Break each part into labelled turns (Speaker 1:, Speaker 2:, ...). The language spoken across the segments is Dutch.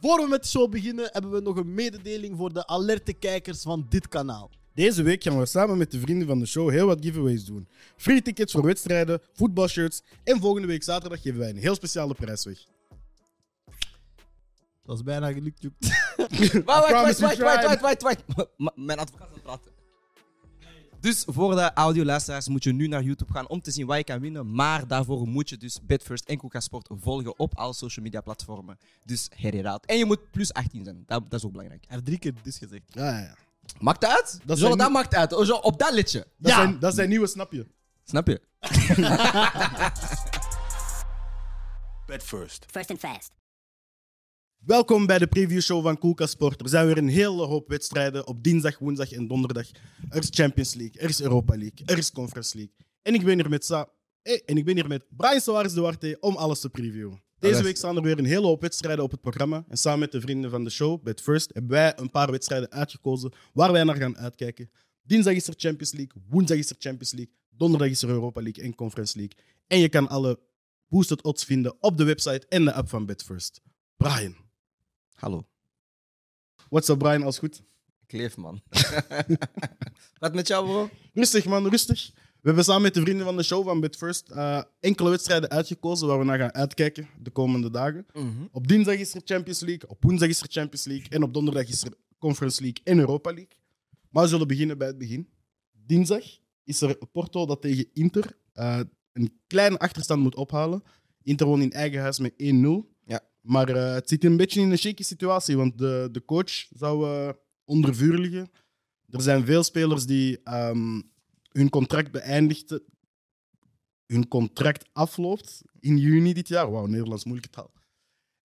Speaker 1: Voor we met de show beginnen, hebben we nog een mededeling voor de alerte kijkers van dit kanaal.
Speaker 2: Deze week gaan we samen met de vrienden van de show heel wat giveaways doen. Free tickets voor wedstrijden, voetbalshirts en volgende week zaterdag geven wij een heel speciale prijs weg.
Speaker 1: Dat is bijna gelukt, Joep.
Speaker 2: I
Speaker 3: Wacht, wacht,
Speaker 2: promise
Speaker 3: wacht,
Speaker 2: you
Speaker 3: wacht,
Speaker 2: tried.
Speaker 3: wacht, wacht, wacht, wacht. M- Mijn advocaat is aan het praten. Dus voor de audioluisteraars moet je nu naar YouTube gaan om te zien wat je kan winnen. Maar daarvoor moet je dus Betfirst en Coca Sport volgen op alle social media platformen. Dus herraad. En je moet plus 18 zijn. Dat, dat is ook belangrijk.
Speaker 1: Hij heeft drie keer dus gezegd.
Speaker 2: Ah, ja, ja.
Speaker 3: Maakt dat uit?
Speaker 2: Dat
Speaker 3: Dat,
Speaker 2: zijn
Speaker 3: dat
Speaker 2: nu-
Speaker 3: maakt uit. Oh, zo, op dat lidje.
Speaker 2: Dat,
Speaker 1: Ja.
Speaker 2: zijn, dat zijn nieuwe snapje.
Speaker 3: Snap je?
Speaker 4: Bed first.
Speaker 5: First and fast.
Speaker 2: Welkom bij de previewshow van Koelka Sport. Er zijn weer een hele hoop wedstrijden op dinsdag, woensdag en donderdag. Er is Champions League, er is Europa League, er is Conference League. En ik ben hier met Sa. eh, en ik ben hier met Brian Soares Duarte om alles te previewen. Deze
Speaker 3: is-
Speaker 2: week staan er weer een hele hoop wedstrijden op het programma. En samen met de vrienden van de show, bij het First, hebben wij een paar wedstrijden uitgekozen waar wij naar gaan uitkijken. Dinsdag is er Champions League, woensdag is er Champions League, donderdag is er Europa League en Conference League. En je kan alle boosted odds vinden op de website en de app van Betfirst. Brian,
Speaker 3: Hallo.
Speaker 2: What's up, Brian? Alles goed?
Speaker 3: Kleef, man. Wat met jou, bro?
Speaker 2: Rustig, man, rustig. We hebben samen met de vrienden van de show van Bitfirst eh enkele wedstrijden uitgekozen waar we naar gaan uitkijken de komende dagen. Op dinsdag is er Champions League, op woensdag is er Champions League en op donderdag is er Conference League en Europa League. Maar we zullen beginnen bij het begin. Dinsdag is er Porto dat tegen Inter eh, een kleine achterstand moet ophalen. Inter won in eigen huis met 1-0.
Speaker 3: Ja.
Speaker 2: Maar eh, het zit een beetje in een shaky situatie, want de, de coach zou eh, onder vuur liggen. Er zijn veel spelers die ehm, hun contract beëindigd, hun contract afloopt in juni dit jaar. Wauw, Nederlands, moeilijke taal.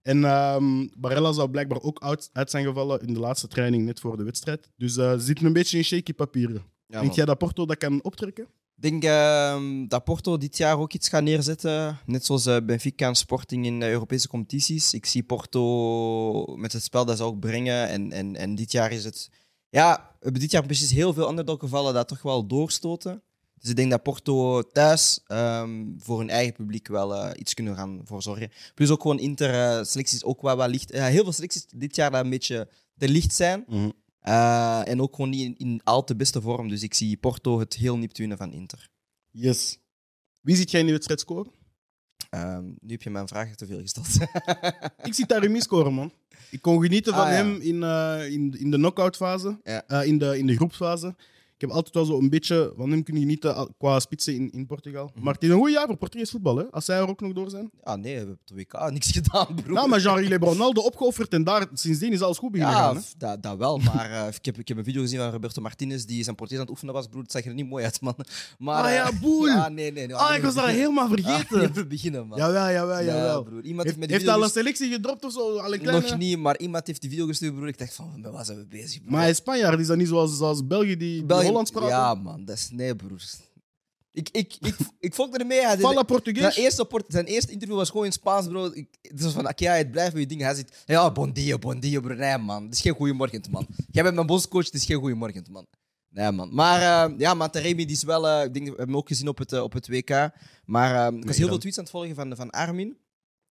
Speaker 2: En ehm Barella zou blijkbaar ook uit, uit zijn gevallen in de laatste training, net voor de wedstrijd. Dus eh, ze zitten een beetje in shaky papieren.
Speaker 3: Ja,
Speaker 2: Denk jij dat Porto dat kan optrekken?
Speaker 3: Ik denk ehm, dat Porto dit jaar ook iets gaat neerzetten. Net zoals eh, Benfica en Sporting in de Europese competities. Ik zie Porto met het spel dat ze ook brengen. En, en, en dit jaar is het. Ja, we hebben dit jaar precies heel veel underdog gevallen dat toch wel doorstoten. Dus ik denk dat Porto thuis ehm, voor hun eigen publiek wel eh, iets kunnen gaan voor zorgen. Plus ook gewoon Inter-selecties ook wel wat licht. ja, heel veel selecties dit jaar dat een beetje te licht zijn.
Speaker 2: Mhm.
Speaker 3: Eh, en ook gewoon niet in, in al te beste vorm. Dus ik zie Porto het heel niet winnen van Inter.
Speaker 2: Yes. Wie ziet jij in de wedstrijd scoren?
Speaker 3: Ehm, nu heb je mijn vragen te veel gesteld.
Speaker 2: Ik zie Taremi scoren, man. Ik kon genieten van
Speaker 3: Ah, ja.
Speaker 2: hem in, eh, in, in de knock-outfase,
Speaker 3: Ja.
Speaker 2: eh, in, de, in de groepsfase. Ik heb altijd wel zo een beetje van hem kunnen genieten al- qua spitsen in, in Portugal.
Speaker 3: Mhm.
Speaker 2: Maar het is een goed jaar voor Portugees voetbal, hè? als zij er ook nog door zijn.
Speaker 3: ah nee, we hebben op de WK niks gedaan, broer.
Speaker 2: Nou, maar Jean-Yves Ronaldo opgeofferd en daar, sindsdien is alles goed beginnen
Speaker 3: ja,
Speaker 2: gaan. Hè?
Speaker 3: f- dat, dat wel, maar eh, ik, heb, ik heb een video gezien van Roberto Martinez die zijn Portugees aan het oefenen was, broer. Het zag er niet mooi uit, man. Maar,
Speaker 2: Ah
Speaker 3: eh,
Speaker 2: ja, boel.
Speaker 3: Ja, nee, nee. nee.
Speaker 2: Ah, ik was daar helemaal
Speaker 3: vergeten.
Speaker 2: vergeten.
Speaker 3: beginnen, man.
Speaker 2: Jawel, jawel,
Speaker 3: Ja,
Speaker 2: jawel.
Speaker 3: broer. Iemand heeft,
Speaker 2: Heeft,
Speaker 3: met
Speaker 2: heeft
Speaker 3: de
Speaker 2: al
Speaker 3: video
Speaker 2: een selectie gedropt of zo? Al een
Speaker 3: gestuurd-
Speaker 2: kleine...
Speaker 3: Nog niet, maar iemand heeft die video gestuurd, broer. Ik dacht van, met wat zijn we bezig, broer?
Speaker 2: Maar hij is Spanjaard, is dat niet zoals, zoals België die
Speaker 3: België-
Speaker 2: Hollands praten?
Speaker 3: Ja, man. Dat is... Nee, broer. Ik, ik, ik, ik volg ermee. Hij deed-
Speaker 2: Fala
Speaker 3: Zijn
Speaker 2: Portugees?
Speaker 3: eerste, port- zijn eerste interview was gewoon in Spaans, bro. Ik, het was van, oké, ja, het blijft bij je ding. Hij zit, ja, bon dia, bon dia, bro. Nee, man. Het is geen goeiemorgen, man. Jij bent mijn boscoach, het is geen goeiemorgen, man. Nee, man. Maar eh, ja, man, Taremi, die is wel... eh, ik denk, we hebben hem ook gezien op het, eh, op het WK. Maar eh, ik was heel
Speaker 2: dan.
Speaker 3: veel tweets aan het volgen van, van Armin.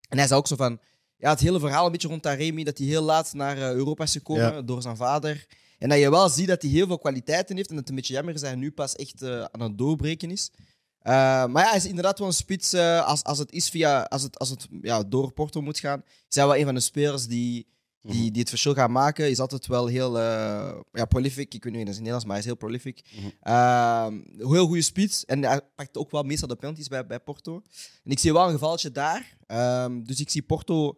Speaker 3: En hij zei ook zo van... Ja, het hele verhaal een beetje rond Taremi, dat hij heel laat naar eh, Europa is gekomen door zijn vader. En dat je wel ziet dat hij heel veel kwaliteiten heeft. En dat het een beetje jammer is dat hij nu pas echt eh, aan het doorbreken is. Eh, maar ja, hij is inderdaad wel een spits. eh, als, als het, is via, als het, als het ja, door Porto moet gaan, is hij wel een van de spelers die, die, die het verschil gaat maken. Hij is altijd wel heel eh, ja, prolific. Ik weet niet in het Nederlands, maar hij is heel prolific. Ehm, heel goede spits. En hij pakt ook wel meestal de penalties bij, bij Porto. En ik zie wel een gevalletje daar. Ehm, dus ik zie Porto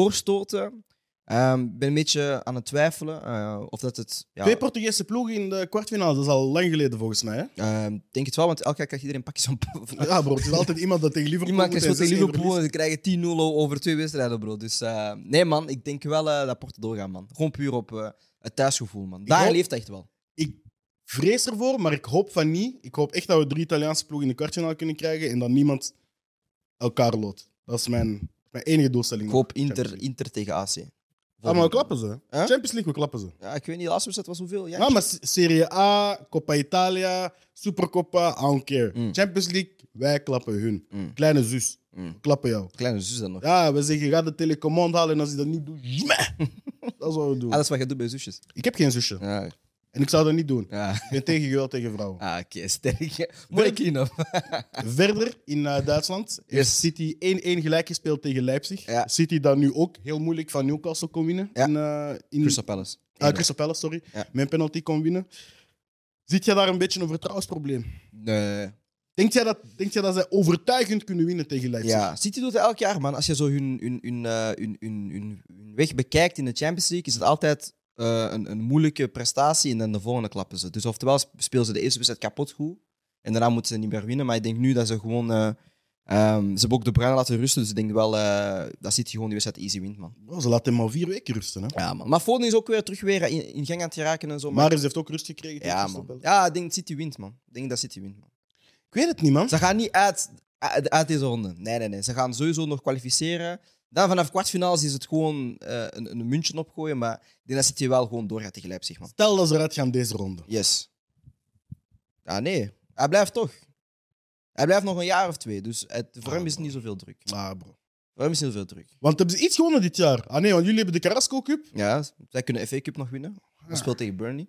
Speaker 3: doorstoten. Ehm, Ik ben een beetje aan het twijfelen eh, of dat het... Ja,
Speaker 2: Twee Portugese ploegen in de kwartfinale, dat is al lang geleden volgens mij. Hè?
Speaker 3: ehm, ik denk het wel, want elke keer krijgt iedereen pakjes aan
Speaker 2: Ja, bro, het is altijd iemand dat tegen Liverpool
Speaker 3: Iemand
Speaker 2: moet
Speaker 3: krijgt
Speaker 2: en
Speaker 3: zo tegen
Speaker 2: 6-1
Speaker 3: Liverpool en
Speaker 2: verliest.
Speaker 3: ze krijgen 10-0 over twee wedstrijden, bro. Dus eh, nee, man, ik denk wel eh, dat Porto doorgaat, man. Gewoon puur op eh, het thuisgevoel, man. Daar
Speaker 2: hoop-
Speaker 3: leeft echt wel.
Speaker 2: Ik vrees ervoor, maar ik hoop van niet. Ik hoop echt dat we drie Italiaanse ploegen in de kwartfinale kunnen krijgen en dat niemand elkaar loodt. Dat is mijn, mijn enige doelstelling.
Speaker 3: Ik hoop Inter, Inter tegen AC.
Speaker 2: Ah, maar we klappen ze. Champions League, we klappen ze.
Speaker 3: Ja, ik weet niet, de laatste wedstrijd was hoeveel? Ja,
Speaker 2: Ja, Ah, maar S- Serie A, Coppa Italia, Supercoppa, I don't care.
Speaker 3: Mm.
Speaker 2: Champions League, wij klappen hun.
Speaker 3: Mm.
Speaker 2: Kleine zus,
Speaker 3: Mm.
Speaker 2: we klappen jou.
Speaker 3: Kleine zus dan nog.
Speaker 2: Ja, we zeggen, ga de telecommand halen en als je dat niet doet, jmeh. dat is wat we doen.
Speaker 3: Alles Ah, wat je doet bij zusjes.
Speaker 2: Ik heb geen zusje
Speaker 3: Ja,
Speaker 2: en ik zou dat niet doen.
Speaker 3: ja.
Speaker 2: Ik ben tegen geweld tegen vrouwen.
Speaker 3: Ah, oké, sterk. Mooi kino.
Speaker 2: Verder in eh, Duitsland heeft
Speaker 3: Yes.
Speaker 2: City 1-1 gelijk gespeeld tegen Leipzig.
Speaker 3: Ja.
Speaker 2: City dat nu ook heel moeilijk van Newcastle kon winnen.
Speaker 3: Ja.
Speaker 2: In, eh, in,
Speaker 3: Crystal Palace.
Speaker 2: ah, Crystal Palace, sorry.
Speaker 3: Ja.
Speaker 2: Mijn penalty kon winnen. Ziet jij daar een beetje een vertrouwensprobleem?
Speaker 3: Nee.
Speaker 2: Denkt jij dat, denkt jij dat zij overtuigend kunnen winnen tegen Leipzig?
Speaker 3: Ja, City doet het elk jaar, man. Als je zo hun, hun, hun, eh, hun, hun, hun, hun weg bekijkt in de Champions League, is het altijd eh, een, een moeilijke prestatie en dan de volgende klappen ze. Dus oftewel sp- spelen ze de eerste wedstrijd kapot goed en daarna moeten ze niet meer winnen. Maar ik denk nu dat ze gewoon... eh, ehm, ze hebben ook de Bruyne laten rusten, dus ik denk wel eh, dat City gewoon die wedstrijd easy wint, man.
Speaker 2: Oh, ze laten hem al vier weken rusten. Hè?
Speaker 3: Ja, man. Maar Foden is ook weer terug weer in, in gang aan het raken en zo. Maar,
Speaker 2: Maris heeft ook rust gekregen. tegen
Speaker 3: ja,
Speaker 2: Crystal
Speaker 3: man.
Speaker 2: Palace.
Speaker 3: Ja, ik denk dat City wint, man. Ik denk dat City wint, man.
Speaker 2: Ik weet het niet, man.
Speaker 3: Ze gaan niet uit, uit, uit deze ronde. Nee, nee, nee. Ze gaan sowieso nog kwalificeren. Dan vanaf kwartfinales is het gewoon eh, een, een muntje opgooien. Maar ik denk dat City wel gewoon doorgaat tegen Leipzig, man.
Speaker 2: Stel dat ze eruit gaan deze ronde.
Speaker 3: Yes. Ja, nee. Hij blijft toch. Hij blijft nog een jaar of twee. Dus het, voor hem is niet zoveel druk.
Speaker 2: Ah, bro.
Speaker 3: Voor hem is niet zoveel druk.
Speaker 2: Want hebben ze iets gewonnen dit jaar? Ah nee, want jullie hebben de Carrasco Cup.
Speaker 3: Ja, zij kunnen FA Cup nog winnen. Hij speelt tegen Burnley.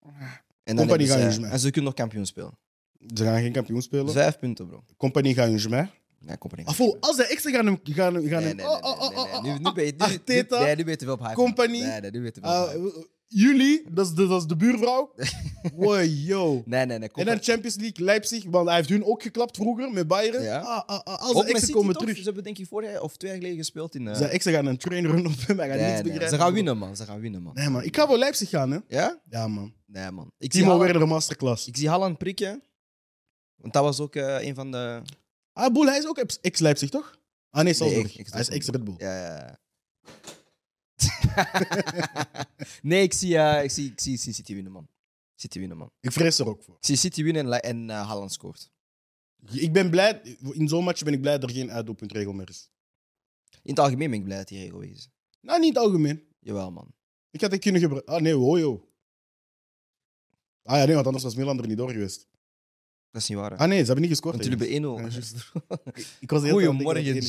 Speaker 3: En,
Speaker 2: Company
Speaker 3: dan hebben
Speaker 2: gaat
Speaker 3: zij-
Speaker 2: niet eens mee.
Speaker 3: en ze kunnen nog kampioen spelen.
Speaker 2: Ze gaan geen kampioen spelen.
Speaker 3: Vijf punten, bro.
Speaker 2: Compagnie gaat hun mij.
Speaker 3: Ja, Company.
Speaker 2: Afo, als zij extra gaan hem... Gaan hem, gaan
Speaker 3: Nee, nee,
Speaker 2: hem-
Speaker 3: nee,
Speaker 2: oh,
Speaker 3: nee,
Speaker 2: oh, oh,
Speaker 3: nee, nee.
Speaker 2: oh,
Speaker 3: Nu-
Speaker 2: oh,
Speaker 3: nu ben je- nu-
Speaker 2: ah,
Speaker 3: nu-
Speaker 2: Arteta.
Speaker 3: nee, nu ben je te veel op hype.
Speaker 2: Company.
Speaker 3: Nee, nee, nu ben je te veel op
Speaker 2: Ah,
Speaker 3: hype.
Speaker 2: jullie, dat is de, dat is de buurvrouw. Wow, yo.
Speaker 3: Nee, nee, nee.
Speaker 2: En
Speaker 3: Company.
Speaker 2: dan Champions League, Leipzig, want hij heeft hun ook geklapt vroeger met Bayern.
Speaker 3: Ja.
Speaker 2: Ah, ah, ah, als ze
Speaker 3: met
Speaker 2: extra
Speaker 3: City
Speaker 2: komen
Speaker 3: toch?
Speaker 2: terug.
Speaker 3: Ze hebben denk ik vorig jaar of twee jaar geleden gespeeld in... eh,
Speaker 2: Ze extra gaan een train run op hem, hij gaat
Speaker 3: nee,
Speaker 2: niks
Speaker 3: nee,
Speaker 2: begrijpen.
Speaker 3: Ze gaan winnen, man. Ze gaan winnen, man.
Speaker 2: Nee, man. Ik ga voor Leipzig gaan, hè.
Speaker 3: Ja?
Speaker 2: Ja, man.
Speaker 3: Nee, man. Ik zie,
Speaker 2: Timo
Speaker 3: Haaland,
Speaker 2: Werner, masterclass.
Speaker 3: ik zie Haaland prikken. Want dat was ook eh, een van de...
Speaker 2: Ah, Boel, hij is ook ex- ex-Leipzig, toch? Ah, nee, Salzburg.
Speaker 3: ex-
Speaker 2: hij is ex-Red Bull.
Speaker 3: Ja, ja, ja. nee, ik zie, eh, ik, zie, ik, zie, ik zie City winnen, man. City winnen, man.
Speaker 2: Ik vrees er ook voor.
Speaker 3: Ik zie City winnen en, La- en eh, Haaland scoort.
Speaker 2: Ik ben blij, in zo'n match ben ik blij dat er geen uitdoelpuntregel meer is.
Speaker 3: In het algemeen ben ik blij dat die regel weg is.
Speaker 2: Nou, niet in het algemeen.
Speaker 3: Jawel, man.
Speaker 2: Ik had het kunnen gebruiken. Ah, nee, wow, yo. Ah ja, nee, want anders was Milan er niet door geweest.
Speaker 3: Dat is niet waar. hè.
Speaker 2: Ah nee, ze hebben niet gescoord.
Speaker 3: Want jullie
Speaker 2: hè.
Speaker 3: hebben 1-0.
Speaker 2: Ja,
Speaker 3: juist.
Speaker 2: Ik- Ik was de hele tijd aan het denken
Speaker 3: Goeiemorgen,
Speaker 2: dat het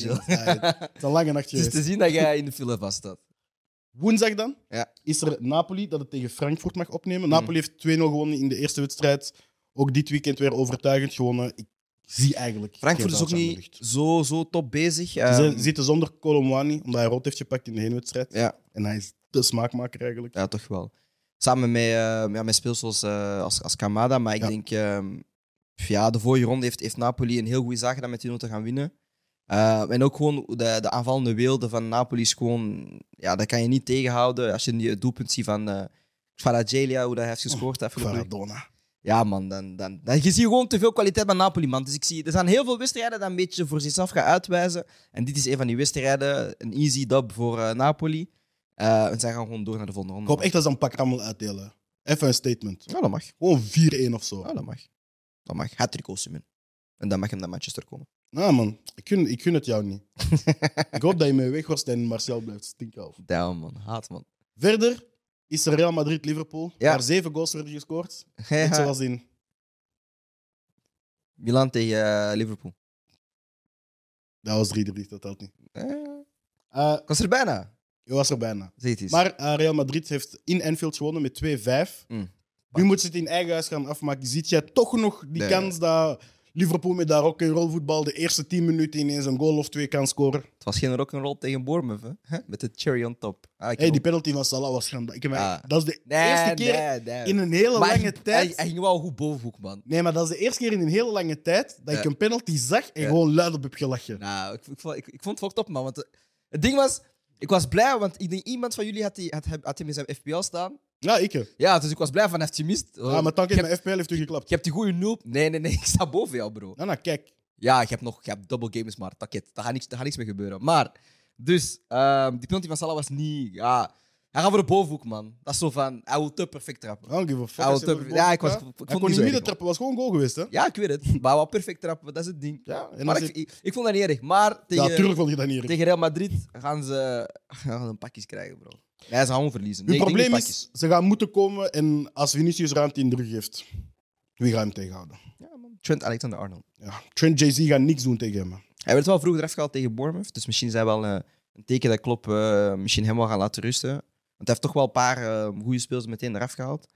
Speaker 2: 1-0
Speaker 3: Jill.
Speaker 2: was. Ah, ja, Het is een lange nacht
Speaker 3: Het is
Speaker 2: geweest.
Speaker 3: te zien dat jij in de file vast zat.
Speaker 2: Woensdag dan
Speaker 3: Ja. Mhm.
Speaker 2: is er Napoli dat het tegen Frankfurt mag opnemen. Napoli heeft 2-0 gewonnen in de eerste wedstrijd. Ook dit weekend weer overtuigend gewonnen. Ik zie eigenlijk.
Speaker 3: Frankfurt
Speaker 2: geen
Speaker 3: is ook
Speaker 2: Duits aan de
Speaker 3: niet
Speaker 2: lucht.
Speaker 3: zo, zo top bezig. Ehm,
Speaker 2: Ze zitten zonder Colomwani, omdat hij rood heeft gepakt in de heenwedstrijd.
Speaker 3: ja,
Speaker 2: En hij is de smaakmaker eigenlijk.
Speaker 3: ja, toch wel. Samen met, eh ja, met speelsels eh, als, als Kamada. Maar ik
Speaker 2: Ja.
Speaker 3: denk, ehm, pff, ja, de vorige ronde heeft, heeft Napoli een heel goede zaak gedaan met 2 te gaan winnen. Eh, en ook gewoon de, de aanvallende weelde van Napoli is gewoon... Ja, dat kan je niet tegenhouden. Als je die- het doelpunt ziet van eh Kvaratskhelia, hoe dat hij heeft gescoord. afgelopen week.
Speaker 2: Maradona.
Speaker 3: Ja, man, dan, dan, dan, je ziet gewoon te veel kwaliteit bij Napoli, man. Dus ik zie, er zijn heel veel wedstrijden dat een beetje voor zichzelf gaan uitwijzen. En dit is een van die wedstrijden, een easy dub voor eh, Napoli. Eh, en zij gaan gewoon door naar de volgende
Speaker 2: Ik
Speaker 3: ronde.
Speaker 2: hoop echt dat ze een pak rammel uitdelen. Even een statement.
Speaker 3: Ja, dat mag.
Speaker 2: Gewoon 4-1 of zo.
Speaker 3: Ja, dat mag. Dat mag. Hat-trick Osimhen. En dan mag hem naar Manchester komen.
Speaker 2: Nou man, ik gun, ik gun het jou niet. ik hoop dat je mij weghorst en Marcel blijft stinken af.
Speaker 3: Damn, man. Haat, man.
Speaker 2: Verder is er Real Madrid-Liverpool.
Speaker 3: Ja.
Speaker 2: Waar zeven goals werden gescoord. Net zoals in...
Speaker 3: Milan tegen eh, Liverpool.
Speaker 2: Dat was 3-3, dat telt niet.
Speaker 3: Eh,
Speaker 2: Eh,
Speaker 3: ik was er bijna.
Speaker 2: je was er bijna.
Speaker 3: Zeg het eens.
Speaker 2: Maar eh, Real Madrid heeft in Anfield gewonnen met 2-5.
Speaker 3: Mm.
Speaker 2: Nu moet ze het in eigen huis gaan afmaken. Ziet jij toch nog die
Speaker 3: Nee.
Speaker 2: kans dat Liverpool met daar ook in rolvoetbal de eerste 10 minuten ineens een goal of twee kan scoren?
Speaker 3: Het was geen rock'n'roll tegen Bournemouth, hè? Hè? Met de cherry on top. Ah,
Speaker 2: Hey,
Speaker 3: ik heb
Speaker 2: die
Speaker 3: ook-
Speaker 2: penalty van Salah was schandaal. Ik heb mij-
Speaker 3: Ah.
Speaker 2: Dat is de
Speaker 3: Nee,
Speaker 2: eerste keer
Speaker 3: nee, nee.
Speaker 2: in een hele
Speaker 3: Maar hij
Speaker 2: lange
Speaker 3: ging-
Speaker 2: tijd.
Speaker 3: Hij, hij ging wel goed bovenhoek, man.
Speaker 2: Nee, maar dat is de eerste keer in een hele lange tijd dat ik
Speaker 3: Ja.
Speaker 2: een penalty zag en
Speaker 3: Ja.
Speaker 2: gewoon luid op heb gelachen.
Speaker 3: Nou, ik, ik, vond- ik, ik vond het fucked up, man. Want eh, het ding was, ik was blij, want ik denk iemand van jullie had, die, had, had hem in zijn FPL staan.
Speaker 2: Ja, ik. hè.
Speaker 3: Ja, dus ik was blij van heeft je mist.
Speaker 2: Ja, Ah, maar
Speaker 3: je,
Speaker 2: Tank in
Speaker 3: hebt,
Speaker 2: mijn FPL heeft u geklapt.
Speaker 3: je hebt die goede noob. Nee, nee, nee, ik sta boven jou, bro.
Speaker 2: Nou, nou, kijk.
Speaker 3: Ja, je hebt nog je hebt double games, maar taket, daar gaat niks, daar gaat niks mee gebeuren. Maar, dus, ehm, die penalty van Salah was niet. Ja, Hij gaat voor de bovenhoek, man. Dat is zo van, hij wil te perfect trappen.
Speaker 2: I don't give a fuck.
Speaker 3: Hij wil
Speaker 2: Als je
Speaker 3: te-
Speaker 2: naar de
Speaker 3: ja,
Speaker 2: goal
Speaker 3: ik was-
Speaker 2: gaat,
Speaker 3: ik vond
Speaker 2: hij
Speaker 3: het
Speaker 2: kon
Speaker 3: niet
Speaker 2: niet
Speaker 3: zo
Speaker 2: midden
Speaker 3: erg,
Speaker 2: trappen, was gewoon goal geweest, hè?
Speaker 3: Ja, ik weet het. Maar wel perfect trappen, dat is het ding.
Speaker 2: Ja, en
Speaker 3: Maar
Speaker 2: als
Speaker 3: ik,
Speaker 2: je-
Speaker 3: ik, ik vond dat niet erg. Maar tegen, eh,
Speaker 2: natuurlijk vond je dat niet. erg.
Speaker 3: tegen Real Madrid gaan ze, gaan ze een pakjes krijgen, bro. Hij ze gewoon verliezen.
Speaker 2: Uw
Speaker 3: Nee, ik denk
Speaker 2: probleem
Speaker 3: niet
Speaker 2: is, ze gaan moeten komen en als Vinicius ruimte in de rug heeft, wie gaat hem tegenhouden?
Speaker 3: pakjes. Ja, man. Trent Alexander-Arnold.
Speaker 2: Ja. Trent Jay-Z gaat niks doen tegen hem. hè.
Speaker 3: Hij werd wel vroeg eraf gehaald tegen Bournemouth. Dus misschien zijn wel eh, een teken dat klopt. eh, misschien hem wel gaan laten rusten. Want hij heeft toch wel een paar eh, goede speels meteen eraf gehaald.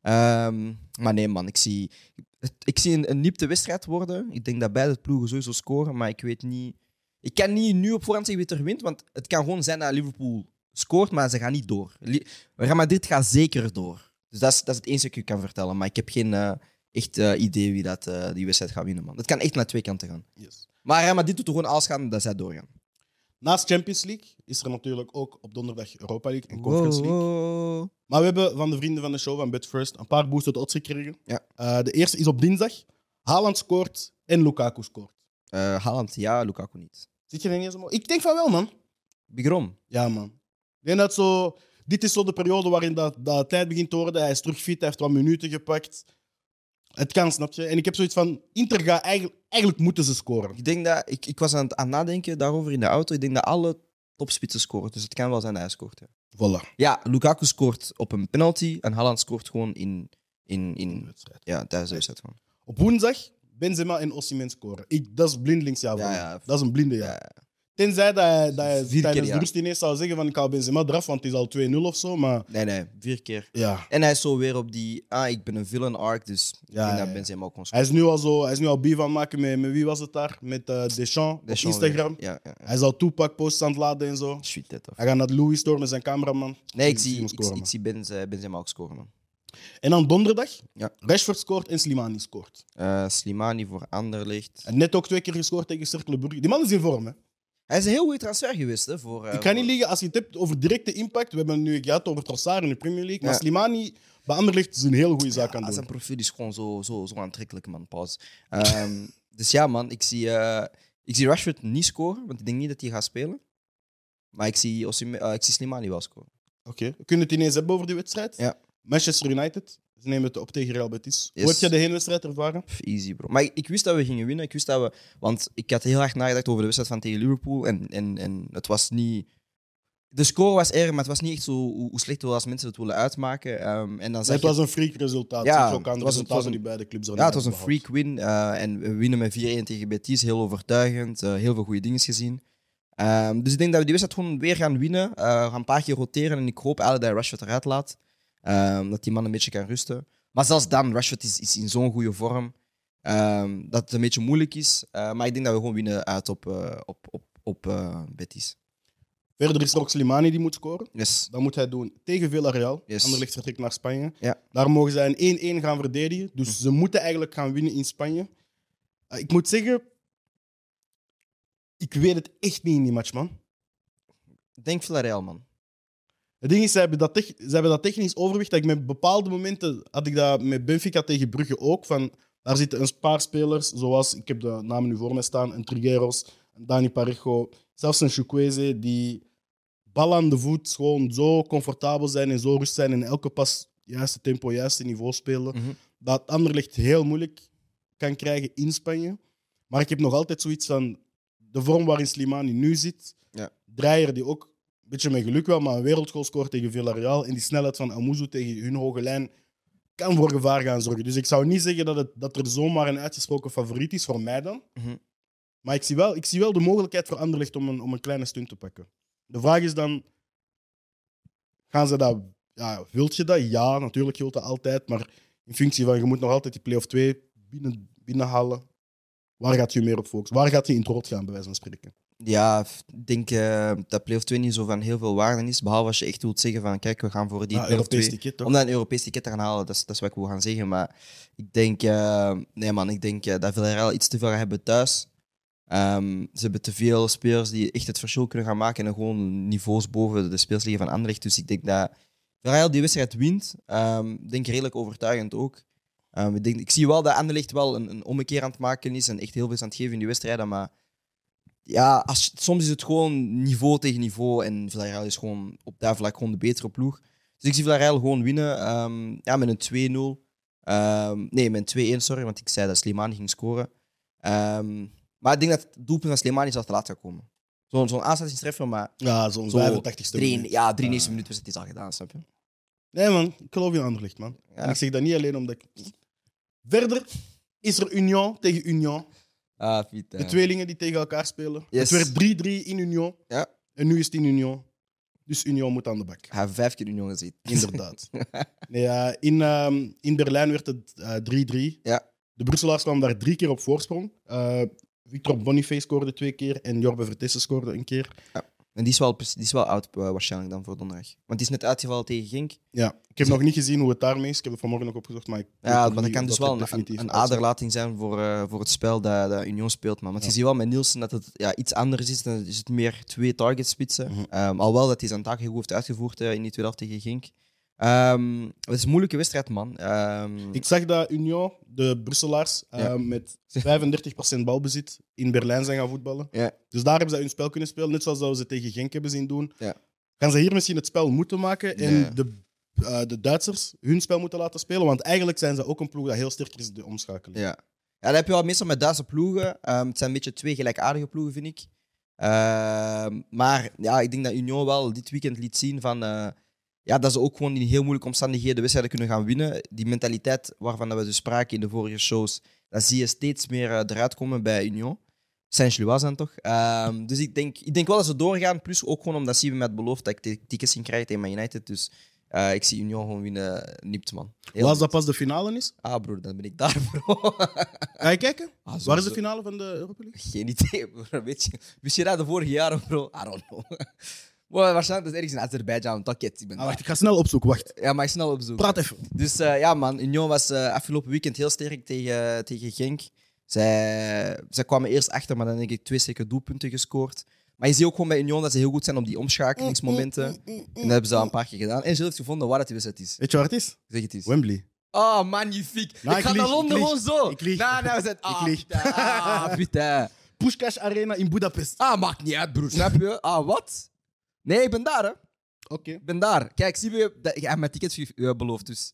Speaker 3: Ehm, maar nee, man. Ik zie, het- ik zie een, een niepte wedstrijd worden. Ik denk dat beide ploegen sowieso scoren. Maar ik weet niet. Ik kan niet nu op voorhand zeggen wie er wint. Want het kan gewoon zijn dat Liverpool scoort. Maar ze gaan niet door. Li- Real Madrid gaat zeker door. Dus dat is, dat is het enige dat ik u kan vertellen. Maar ik heb geen eh, echt eh, idee wie dat, eh, die wedstrijd gaat winnen, man. Het kan echt naar twee kanten gaan. Maar, hè, maar dit doet er gewoon alles gaan dat zij doorgaan.
Speaker 2: Naast Champions League is er natuurlijk ook op donderdag Europa League en Conference League. Maar we hebben van de vrienden van de show van Betfirst een paar boosters odds gekregen.
Speaker 3: Ja.
Speaker 2: Eh, de eerste is op dinsdag. Haaland scoort en Lukaku scoort.
Speaker 3: Eh, Haaland, ja, Lukaku niet.
Speaker 2: Zit je er niet eens om? Ik denk van wel, man.
Speaker 3: Bigrom.
Speaker 2: Ja, man. Ik denk dat zo... Dit is zo de periode waarin dat, dat tijd begint te worden. Hij is terug fit, hij heeft wat minuten gepakt. Het kan, snap je? En ik heb zoiets van... Inter gaat eigenlijk... Eigenlijk moeten ze scoren.
Speaker 3: Ik denk dat, ik, ik was aan het aan het nadenken daarover in de auto. Ik denk dat alle topspitsen scoren, dus het kan wel zijn dat hij scoort. Ja,
Speaker 2: Voilà.
Speaker 3: ja Lukaku scoort op een penalty en Haaland scoort gewoon in, in,
Speaker 2: De
Speaker 3: in
Speaker 2: wedstrijd.
Speaker 3: ja, tijdens de wedstrijd. Gewoon.
Speaker 2: Op woensdag Benzema en Osimhen scoren. Ik, dat is blindelings ja, voor
Speaker 3: Ja,
Speaker 2: mij.
Speaker 3: ja.
Speaker 2: Dat is een blinde ja.
Speaker 3: Ja.
Speaker 2: Tenzij dat hij, dat hij
Speaker 3: Vier keer
Speaker 2: tijdens
Speaker 3: ja.
Speaker 2: de rust ineens zou zeggen van ik haal Benzema eraf, want het is al 2-0 of zo. Maar
Speaker 3: Nee, nee, vier keer.
Speaker 2: ja,
Speaker 3: En hij is zo weer op die, ah, ik ben een villain arc, dus ik
Speaker 2: Ja,
Speaker 3: denk
Speaker 2: ja,
Speaker 3: dat
Speaker 2: ja.
Speaker 3: Benzema ook kon scoren.
Speaker 2: hij is nu al zo... Hij is nu al bier van maken met, met... Wie was het daar? Met eh, Deschamps,
Speaker 3: Deschamps
Speaker 2: op
Speaker 3: weer.
Speaker 2: Instagram.
Speaker 3: Ja, ja, ja.
Speaker 2: Hij is al Tupac posts aan het laden en zo.
Speaker 3: Shit, dit toch.
Speaker 2: Hij gaat naar Louis door met zijn cameraman.
Speaker 3: Nee, ik
Speaker 2: Ik
Speaker 3: zie,
Speaker 2: zie hem
Speaker 3: ik,
Speaker 2: scoren,
Speaker 3: ik
Speaker 2: man.
Speaker 3: zie Benz- eh, Benzema ook scoren, man.
Speaker 2: En dan donderdag,
Speaker 3: Ja.
Speaker 2: Rashford scoort en Slimani scoort.
Speaker 3: Eh, Slimani voor Anderlecht.
Speaker 2: En net ook twee keer gescoord tegen Cerkelenburg. Die man is in vorm, hè.
Speaker 3: Hij is een heel goede transfer geweest. Hè, voor, eh,
Speaker 2: Ik kan niet
Speaker 3: voor-
Speaker 2: liegen, als je het hebt over directe impact, we hebben het nu gehad over Trossard in de Premier League, maar
Speaker 3: Ja.
Speaker 2: Slimani bij Anderlecht is een hele goede zaak
Speaker 3: Ja,
Speaker 2: aan het
Speaker 3: Zijn
Speaker 2: doen.
Speaker 3: profiel is gewoon zo, zo, zo aantrekkelijk, man. Pas. Ehm, dus ja, man. Ik zie, eh, ik zie Rashford niet scoren, want ik denk niet dat hij gaat spelen. Maar ik zie, Osim, eh, ik zie Slimani wel scoren.
Speaker 2: Oké, we kunnen het ineens hebben over die wedstrijd.
Speaker 3: Ja.
Speaker 2: Manchester United, ze nemen het op tegen Real Betis.
Speaker 3: Yes.
Speaker 2: Hoe heb jij de heenwedstrijd ervaren?
Speaker 3: Pff, easy, bro. Maar ik, ik wist dat we gingen winnen. Ik wist dat we, want ik had heel erg nagedacht over de wedstrijd van tegen Liverpool. En, en, en het was niet... De score was erg, maar het was niet echt zo hoe, hoe slecht het was als mensen het willen uitmaken. Ehm, en dan zag
Speaker 2: Het
Speaker 3: je-
Speaker 2: was een freak resultaat.
Speaker 3: Ja,
Speaker 2: Ja, ook aan
Speaker 3: het
Speaker 2: de
Speaker 3: was een-
Speaker 2: resultaten
Speaker 3: het was een-
Speaker 2: die beide clubs er
Speaker 3: Ja, het
Speaker 2: niet
Speaker 3: was een
Speaker 2: hebben
Speaker 3: freak win. eh, en we winnen met 4-1 tegen Betis. Heel overtuigend. eh, heel veel goede dingen gezien. Ehm, dus ik denk dat we die wedstrijd gewoon weer gaan winnen. Eh, we gaan een paar keer roteren. En ik hoop eigenlijk dat Rashford eruit laat. Ehm, dat die man een beetje kan rusten. Maar zelfs dan, Rashford is, is in zo'n goede vorm. ehm, dat het een beetje moeilijk is. Eh, maar ik denk dat we gewoon winnen uit op, eh, op, op, op eh, Betis.
Speaker 2: Verder is er ook Slimani die moet scoren.
Speaker 3: Yes.
Speaker 2: Dat moet hij doen tegen Villarreal.
Speaker 3: Yes.
Speaker 2: Anderlecht vertrekt naar Spanje.
Speaker 3: Ja. Mhm.
Speaker 2: Daar mogen zij een 1-1 gaan verdedigen. Dus ze moeten eigenlijk gaan winnen in Spanje. Eh, ik moet zeggen, ik weet het echt niet in die match, man.
Speaker 3: Ik Denk Villarreal, man.
Speaker 2: Het ding is, ze hebben dat, tech- ze hebben dat technisch overwicht. Dat ik met bepaalde momenten had ik dat met Benfica tegen Brugge ook. Van, daar zitten een paar spelers, zoals ik heb de namen nu voor me staan: een Trigueros, een Dani Parejo, zelfs een Chukwueze, die bal aan de voet gewoon zo comfortabel zijn en zo rust zijn en elke pas juiste tempo, juiste niveau spelen.
Speaker 3: Mhm.
Speaker 2: Dat Anderlecht heel moeilijk kan krijgen in Spanje. Maar ik heb nog altijd zoiets van de vorm waarin Slimani nu zit.
Speaker 3: Ja.
Speaker 2: Dreyer die ook een beetje met geluk wel, maar een wereldgoal scoort tegen Villarreal. En die snelheid van Amuzu tegen hun hoge lijn kan voor gevaar gaan zorgen. Dus ik zou niet zeggen dat, het, dat er zomaar een uitgesproken favoriet is voor mij dan.
Speaker 3: Mhm.
Speaker 2: Maar ik zie, wel, ik zie wel de mogelijkheid voor Anderlecht om een, om een kleine stunt te pakken. De vraag is dan, gaan ze dat... Ja, wilt je dat? Ja, natuurlijk wilt dat altijd. Maar in functie van, je moet nog altijd die play-off 2 binnen, binnenhalen. Waar gaat je meer op focussen? Waar gaat je in het rood gaan, bij wijze van spreken?
Speaker 3: Ja, f- ik denk eh, dat play-off 2 niet zo van heel veel waarde is. Behalve als je echt wilt zeggen van kijk, we gaan voor die
Speaker 2: Ja,
Speaker 3: play-off 2.
Speaker 2: Nou, Europees ticket, toch?
Speaker 3: Om dan een Europees ticket te gaan halen, dat is, dat is wat ik wil gaan zeggen. Maar ik denk, eh, nee man, ik denk eh, dat Villarreal iets te veel gaat hebben thuis. Ehm, ze hebben te veel spelers die echt het verschil kunnen gaan maken en gewoon niveaus boven de speels liggen van Anderlecht. Dus ik denk dat Villarreal die wedstrijd wint. Ehm, Ik denk redelijk overtuigend ook. Ehm, ik, denk, ik zie wel dat Anderlecht wel een, een ommekeer aan het maken is en echt heel veel is aan het geven in die wedstrijden. Maar ja, als, je- soms is het gewoon niveau tegen niveau. En Villarreal is gewoon op dat vlak gewoon de betere ploeg. Dus ik zie Villarreal gewoon winnen. ehm, ja, met een 2-0. Ehm, nee, met een 2-1, sorry. Want ik zei dat Slimani ging scoren. Ehm, maar ik denk dat het doelpunt van Slimani zelfs te laat gaat komen. Zo'n zo'n aansluitingstreffer, maar...
Speaker 2: Ja, zo'n
Speaker 3: Zo,
Speaker 2: 85ste
Speaker 3: Drie,
Speaker 2: minuut. Ah.
Speaker 3: ja, 93 minuten was het is al gedaan, snap je?
Speaker 2: Nee, man, ik geloof in Anderlecht, man.
Speaker 3: Ja.
Speaker 2: En ik zeg dat niet alleen omdat ik... Verder is er Union tegen Union.
Speaker 3: Ah, Vita.
Speaker 2: De tweelingen die tegen elkaar spelen.
Speaker 3: Yes.
Speaker 2: Het werd 3-3 in Union.
Speaker 3: Ja.
Speaker 2: En nu is het in Union. Dus Union moet aan de bak.
Speaker 3: Hij heeft vijf keer Union gezien.
Speaker 2: Inderdaad. nee, ja, in, ehm, in Berlijn werd het eh, 3-3.
Speaker 3: Ja.
Speaker 2: De Brusselaars kwamen daar drie keer op voorsprong. Eh, Victor Boniface scoorde twee keer en Jorbe Vertessen scoorde een keer.
Speaker 3: En die is wel, pers- die is wel oud eh, waarschijnlijk dan voor donderdag. Want die is net uitgevallen tegen Gink.
Speaker 2: Ja, ik heb nog niet gezien hoe het daarmee is. Ik heb het vanmorgen nog opgezocht, maar ik weet
Speaker 3: Ja,
Speaker 2: nog
Speaker 3: maar dat
Speaker 2: niet
Speaker 3: kan
Speaker 2: of
Speaker 3: dus wel
Speaker 2: er
Speaker 3: een, een,
Speaker 2: definitief
Speaker 3: een
Speaker 2: uitziet.
Speaker 3: aderlating zijn voor, eh, voor het spel dat, dat Union speelt. Man. Want je ziet wel met Nielsen dat het ja, iets anders is. Dan is het meer twee target spitsen.
Speaker 2: Mhm.
Speaker 3: Ehm, alhoewel dat hij zijn taak heel goed heeft uitgevoerd eh, in die tweede helft tegen Gink. Ehm, het is een moeilijke wedstrijd, man. Ehm,
Speaker 2: Ik zag dat Union, de Brusselaars, eh,
Speaker 3: Ja.
Speaker 2: met 35% balbezit in Berlijn zijn gaan voetballen.
Speaker 3: Ja.
Speaker 2: Dus daar hebben ze hun spel kunnen spelen, net zoals dat we ze tegen Genk hebben zien doen.
Speaker 3: Ja.
Speaker 2: Gaan ze hier misschien het spel moeten maken en
Speaker 3: Nee.
Speaker 2: de, eh, de Duitsers hun spel moeten laten spelen? Want eigenlijk zijn ze ook een ploeg dat heel sterk is in de omschakeling.
Speaker 3: Ja. ja, dat heb je wel meestal met Duitse ploegen. Ehm, het zijn een beetje twee gelijkaardige ploegen, vind ik. Ehm, maar ja, ik denk dat Union wel dit weekend liet zien van, eh, ja, dat ze ook gewoon in heel moeilijke omstandigheden wedstrijden kunnen gaan winnen. Die mentaliteit waarvan dat we dus spraken in de vorige shows, dat zie je steeds meer eh, eruit komen bij Union. Saint-Gillois zijn toch? Ehm, dus ik denk, ik denk wel dat ze doorgaan. Plus ook gewoon omdat Steven met beloofd dat ik de tickets ging krijgen tegen Man United. Dus eh, ik zie Union gewoon winnen. Nipt, man. Heel
Speaker 2: Was dat pas de finale is?
Speaker 3: Ah, broer, dan ben ik daar, bro.
Speaker 2: Ga je kijken?
Speaker 3: Ah,
Speaker 2: Waar is
Speaker 3: sowieso.
Speaker 2: de finale van de Europa League?
Speaker 3: Geen idee, bro. Weet je, wist je dat de vorige jaren, bro? I don't know. Maar waarschijnlijk is het ergens in Azerbeidzjan, Taket. Ik ben
Speaker 2: Ah, wacht, ik ga snel opzoeken. Wacht,
Speaker 3: Ja, maar ik snel op zoek.
Speaker 2: praat even.
Speaker 3: Dus eh, ja, man, Union was eh, afgelopen weekend heel sterk tegen, tegen Genk. Zij, zij kwamen eerst achter, maar dan denk ik twee zeker doelpunten gescoord. Maar je ziet ook gewoon bij Union dat ze heel goed zijn op die omschakelingsmomenten.
Speaker 2: Mm,
Speaker 3: En dat hebben ze al een paar keer gedaan. En ze heeft gevonden waar dat die wedstrijd is.
Speaker 2: Weet je waar het is?
Speaker 3: Zeg het eens.
Speaker 2: Wembley.
Speaker 3: Oh, magnifiek.
Speaker 2: Nou,
Speaker 3: ik
Speaker 2: ik
Speaker 3: ga naar
Speaker 2: lieg, ik
Speaker 3: Londen
Speaker 2: lieg.
Speaker 3: gewoon zo.
Speaker 2: Ik lieg.
Speaker 3: Nou, nou, we zijn... Ah,
Speaker 2: lieg.
Speaker 3: putain. Ah, putain.
Speaker 2: Pushkash Arena in Budapest.
Speaker 3: Ah, maakt niet uit, broer. Snap je? Ah, wat? Nee, ik ben daar, hè.
Speaker 2: Oké.
Speaker 3: Ik ben daar. Kijk, zie je, dat, jij hebt mijn tickets ge- eh, beloofd, dus.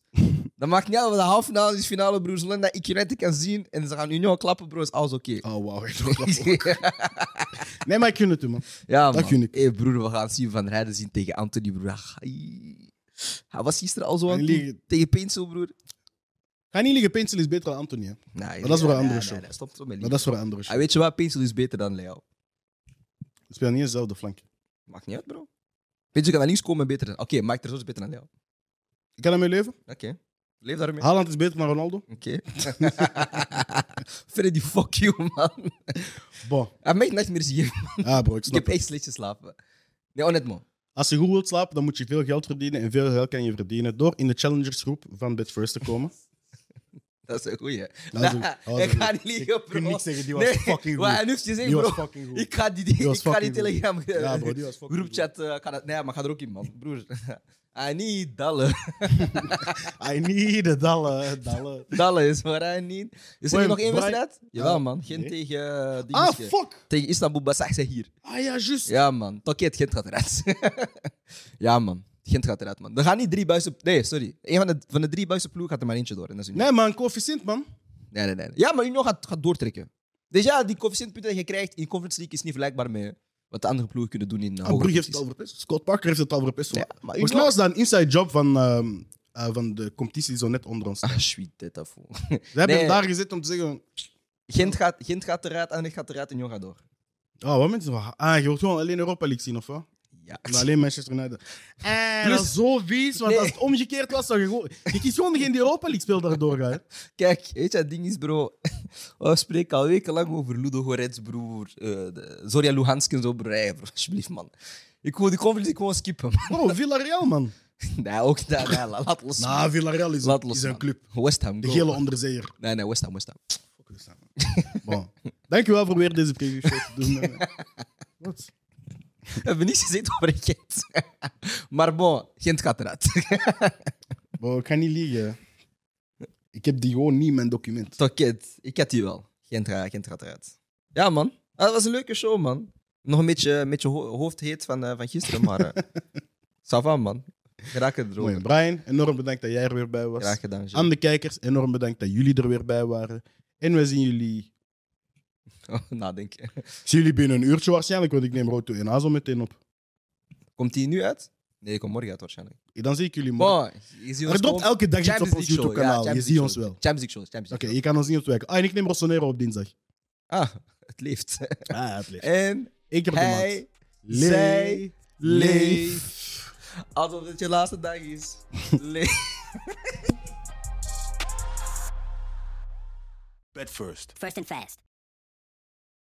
Speaker 3: Dat maakt niet uit of de halve finale is finale, broer. Zolang dat ik United kan zien en ze gaan Union klappen, broer, is alles oké.
Speaker 2: Oh, wauw. echt wel grappig. Nee, maar ik gun het u, man.
Speaker 3: ja,
Speaker 2: Dat
Speaker 3: man.
Speaker 2: gun ik.
Speaker 3: Hey, broer, we gaan Steven van Rijden zien tegen Anthony, broer. Ah, ai. Hij was gisteren al zo aan het
Speaker 2: Hij
Speaker 3: doen.
Speaker 2: liegt.
Speaker 3: Tegen Pencil, broer.
Speaker 2: Ga niet liggen, Pencil is beter dan Anthony. Hè?
Speaker 3: Nee, nee,
Speaker 2: dat is voor een
Speaker 3: nee,
Speaker 2: andere
Speaker 3: nee,
Speaker 2: show.
Speaker 3: nee, stop zo met
Speaker 2: Maar
Speaker 3: liegen.
Speaker 2: dat is voor een andere
Speaker 3: Ah,
Speaker 2: show.
Speaker 3: weet je wat? Pencil is beter dan Leo. Ah.
Speaker 2: Ze spelen niet eens dezelfde flank.
Speaker 3: Maakt niet uit, bro. Pencil kan naar links komen en beter dan... Oké, Mike Terzo is beter dan Leo.
Speaker 2: Ik kan ermee leven.
Speaker 3: Oké. Leef daarmee.
Speaker 2: Haaland is beter dan Ronaldo.
Speaker 3: Oké. Freddy, fuck you, man.
Speaker 2: Bon.
Speaker 3: Hij mag echt meer zien.
Speaker 2: Ah, bro, ik
Speaker 3: Ik
Speaker 2: snap
Speaker 3: heb
Speaker 2: het.
Speaker 3: echt slecht geslapen. Nee, oh, honnêtement.
Speaker 2: Als je goed wilt slapen, dan moet je veel geld verdienen. En veel geld kan je verdienen door in de challengersgroep van Betfirst te komen.
Speaker 3: Dat is een goeie.
Speaker 2: Dat is een-
Speaker 3: Nah,
Speaker 2: dat is
Speaker 3: ik
Speaker 2: een-
Speaker 3: ga niet liegen,
Speaker 2: Ik kan
Speaker 3: bro.
Speaker 2: niks zeggen, die was fucking
Speaker 3: wat hij
Speaker 2: goed.
Speaker 3: nu heeft gezegd,
Speaker 2: Die was
Speaker 3: bro.
Speaker 2: fucking goed.
Speaker 3: Ik ga die,
Speaker 2: Die was
Speaker 3: ik ga die
Speaker 2: fucking goed.
Speaker 3: telegram...
Speaker 2: Ja, bro, die was fucking
Speaker 3: groepchat... eh, ik ga dat, nee, maar ga er ook in, man. Broer. Ah, niet dallen.
Speaker 2: I need it, dalle, dalle.
Speaker 3: Dallen is waar hij niet... Is er
Speaker 2: Wait,
Speaker 3: nog één
Speaker 2: Brian-
Speaker 3: wedstrijd? Jawel,
Speaker 2: Ah,
Speaker 3: man. Geen
Speaker 2: nee.
Speaker 3: tegen... eh,
Speaker 2: Ah,
Speaker 3: dingetje.
Speaker 2: fuck!
Speaker 3: Tegen Istanbul Basak zijn hier.
Speaker 2: Ah ja, juist.
Speaker 3: Ja, man. Tokket, Gent gaat eruit. ja, man. Gent gaat eruit, man. Er gaan niet drie buizen... Nee, sorry. Een van de, van de drie buizen ploeg gaat er maar eentje door. En dat is Union.
Speaker 2: Nee, maar een coëfficiënt, man.
Speaker 3: Nee, nee, nee. nee. Ja, maar Union gaat, gaat doortrekken. Dus ja, die coëfficiëntpunten die je krijgt in Conference League is niet vergelijkbaar met wat de andere ploegen kunnen doen in uh,
Speaker 2: Ah, Brugge heeft het al verpest. Scott Parker heeft het al verpest.
Speaker 3: Ja,
Speaker 2: Ja,
Speaker 3: maar
Speaker 2: Volgens
Speaker 3: Union-
Speaker 2: mij was dat een inside job van, ehm, eh, van de competitie die zo net onder ons staat.
Speaker 3: Ah, sweet, dit afvoer.
Speaker 2: Ze hebben
Speaker 3: Nee.
Speaker 2: hem daar gezet om te zeggen...
Speaker 3: Gent gaat, Gent gaat eruit, Anderlecht gaat eruit en Union gaat door.
Speaker 2: Oh, wat mensen van... Ah, je wilt gewoon alleen Europa League zien, of wat?
Speaker 3: Ja.
Speaker 2: Maar alleen Manchester United. Eh,
Speaker 3: Plus-
Speaker 2: dat is zo vies, want
Speaker 3: Nee.
Speaker 2: als het omgekeerd was, zou je gewoon... Je kiest gewoon degene die Europa League speelt daardoor gaan. hè.
Speaker 3: Kijk, weet je, het ding is, bro. We spreken al wekenlang over Ludo Gorets, broer. eh, de- Zorja Luhansk en zo, broer. Hey, bro, alsjeblieft, man. Ik wil die Conference League gewoon skippen. man.
Speaker 2: Bro, Villarreal, man.
Speaker 3: nee, ook dat. Nee, la- laat los.
Speaker 2: Nou,
Speaker 3: man.
Speaker 2: Villarreal is,
Speaker 3: Laat los,
Speaker 2: is een
Speaker 3: man.
Speaker 2: club.
Speaker 3: West Ham,
Speaker 2: De
Speaker 3: go.
Speaker 2: gele onderzeeër.
Speaker 3: Nee, nee, West Ham, West Ham.
Speaker 2: Bon. Dankjewel voor weer deze preview show te doen. eh. Wat?
Speaker 3: We hebben niet gezeten over Gent. maar bon, Gent gaat eruit.
Speaker 2: Bro, ik ga niet liegen. Ik heb die gewoon niet in mijn document.
Speaker 3: Tokket, ik had die wel. Gent, ra- Gent gaat eruit. Ja, man. Ah, dat was een leuke show, man. Nog een beetje, een beetje ho- hoofdheet van, eh, van gisteren, maar... eh, ça va, man. Graag het
Speaker 2: Mooi.
Speaker 3: erover.
Speaker 2: Brian, enorm bedankt dat jij er weer bij was.
Speaker 3: Graag gedaan, Jim.
Speaker 2: Aan de kijkers, enorm bedankt dat jullie er weer bij waren. En we zien jullie.
Speaker 3: Oh, Nadenken.
Speaker 2: Ik zie jullie binnen een uurtje waarschijnlijk, want ik neem Roto en Azo meteen op.
Speaker 3: Komt die nu uit? Nee, die komt morgen uit waarschijnlijk.
Speaker 2: Dan zie ik jullie morgen.
Speaker 3: Boah, je ziet ons
Speaker 2: er
Speaker 3: gewoon-
Speaker 2: dropt elke dag iets
Speaker 3: Champions
Speaker 2: op ons
Speaker 3: League show, ja,
Speaker 2: YouTube-kanaal. je
Speaker 3: Champions
Speaker 2: ziet
Speaker 3: League
Speaker 2: ons
Speaker 3: show.
Speaker 2: wel. Oké,
Speaker 3: Champions League shows, Champions League
Speaker 2: je kan ons niet op het werk. Ah, en ik neem Rossonero op dinsdag.
Speaker 3: shows. Ah, het leeft.
Speaker 2: Ah, het leeft.
Speaker 3: En
Speaker 2: Eén keer per maand.
Speaker 3: hij, zij, leeft. Alsof het je laatste dag is. Leef.
Speaker 4: Bet first.
Speaker 5: First and fast.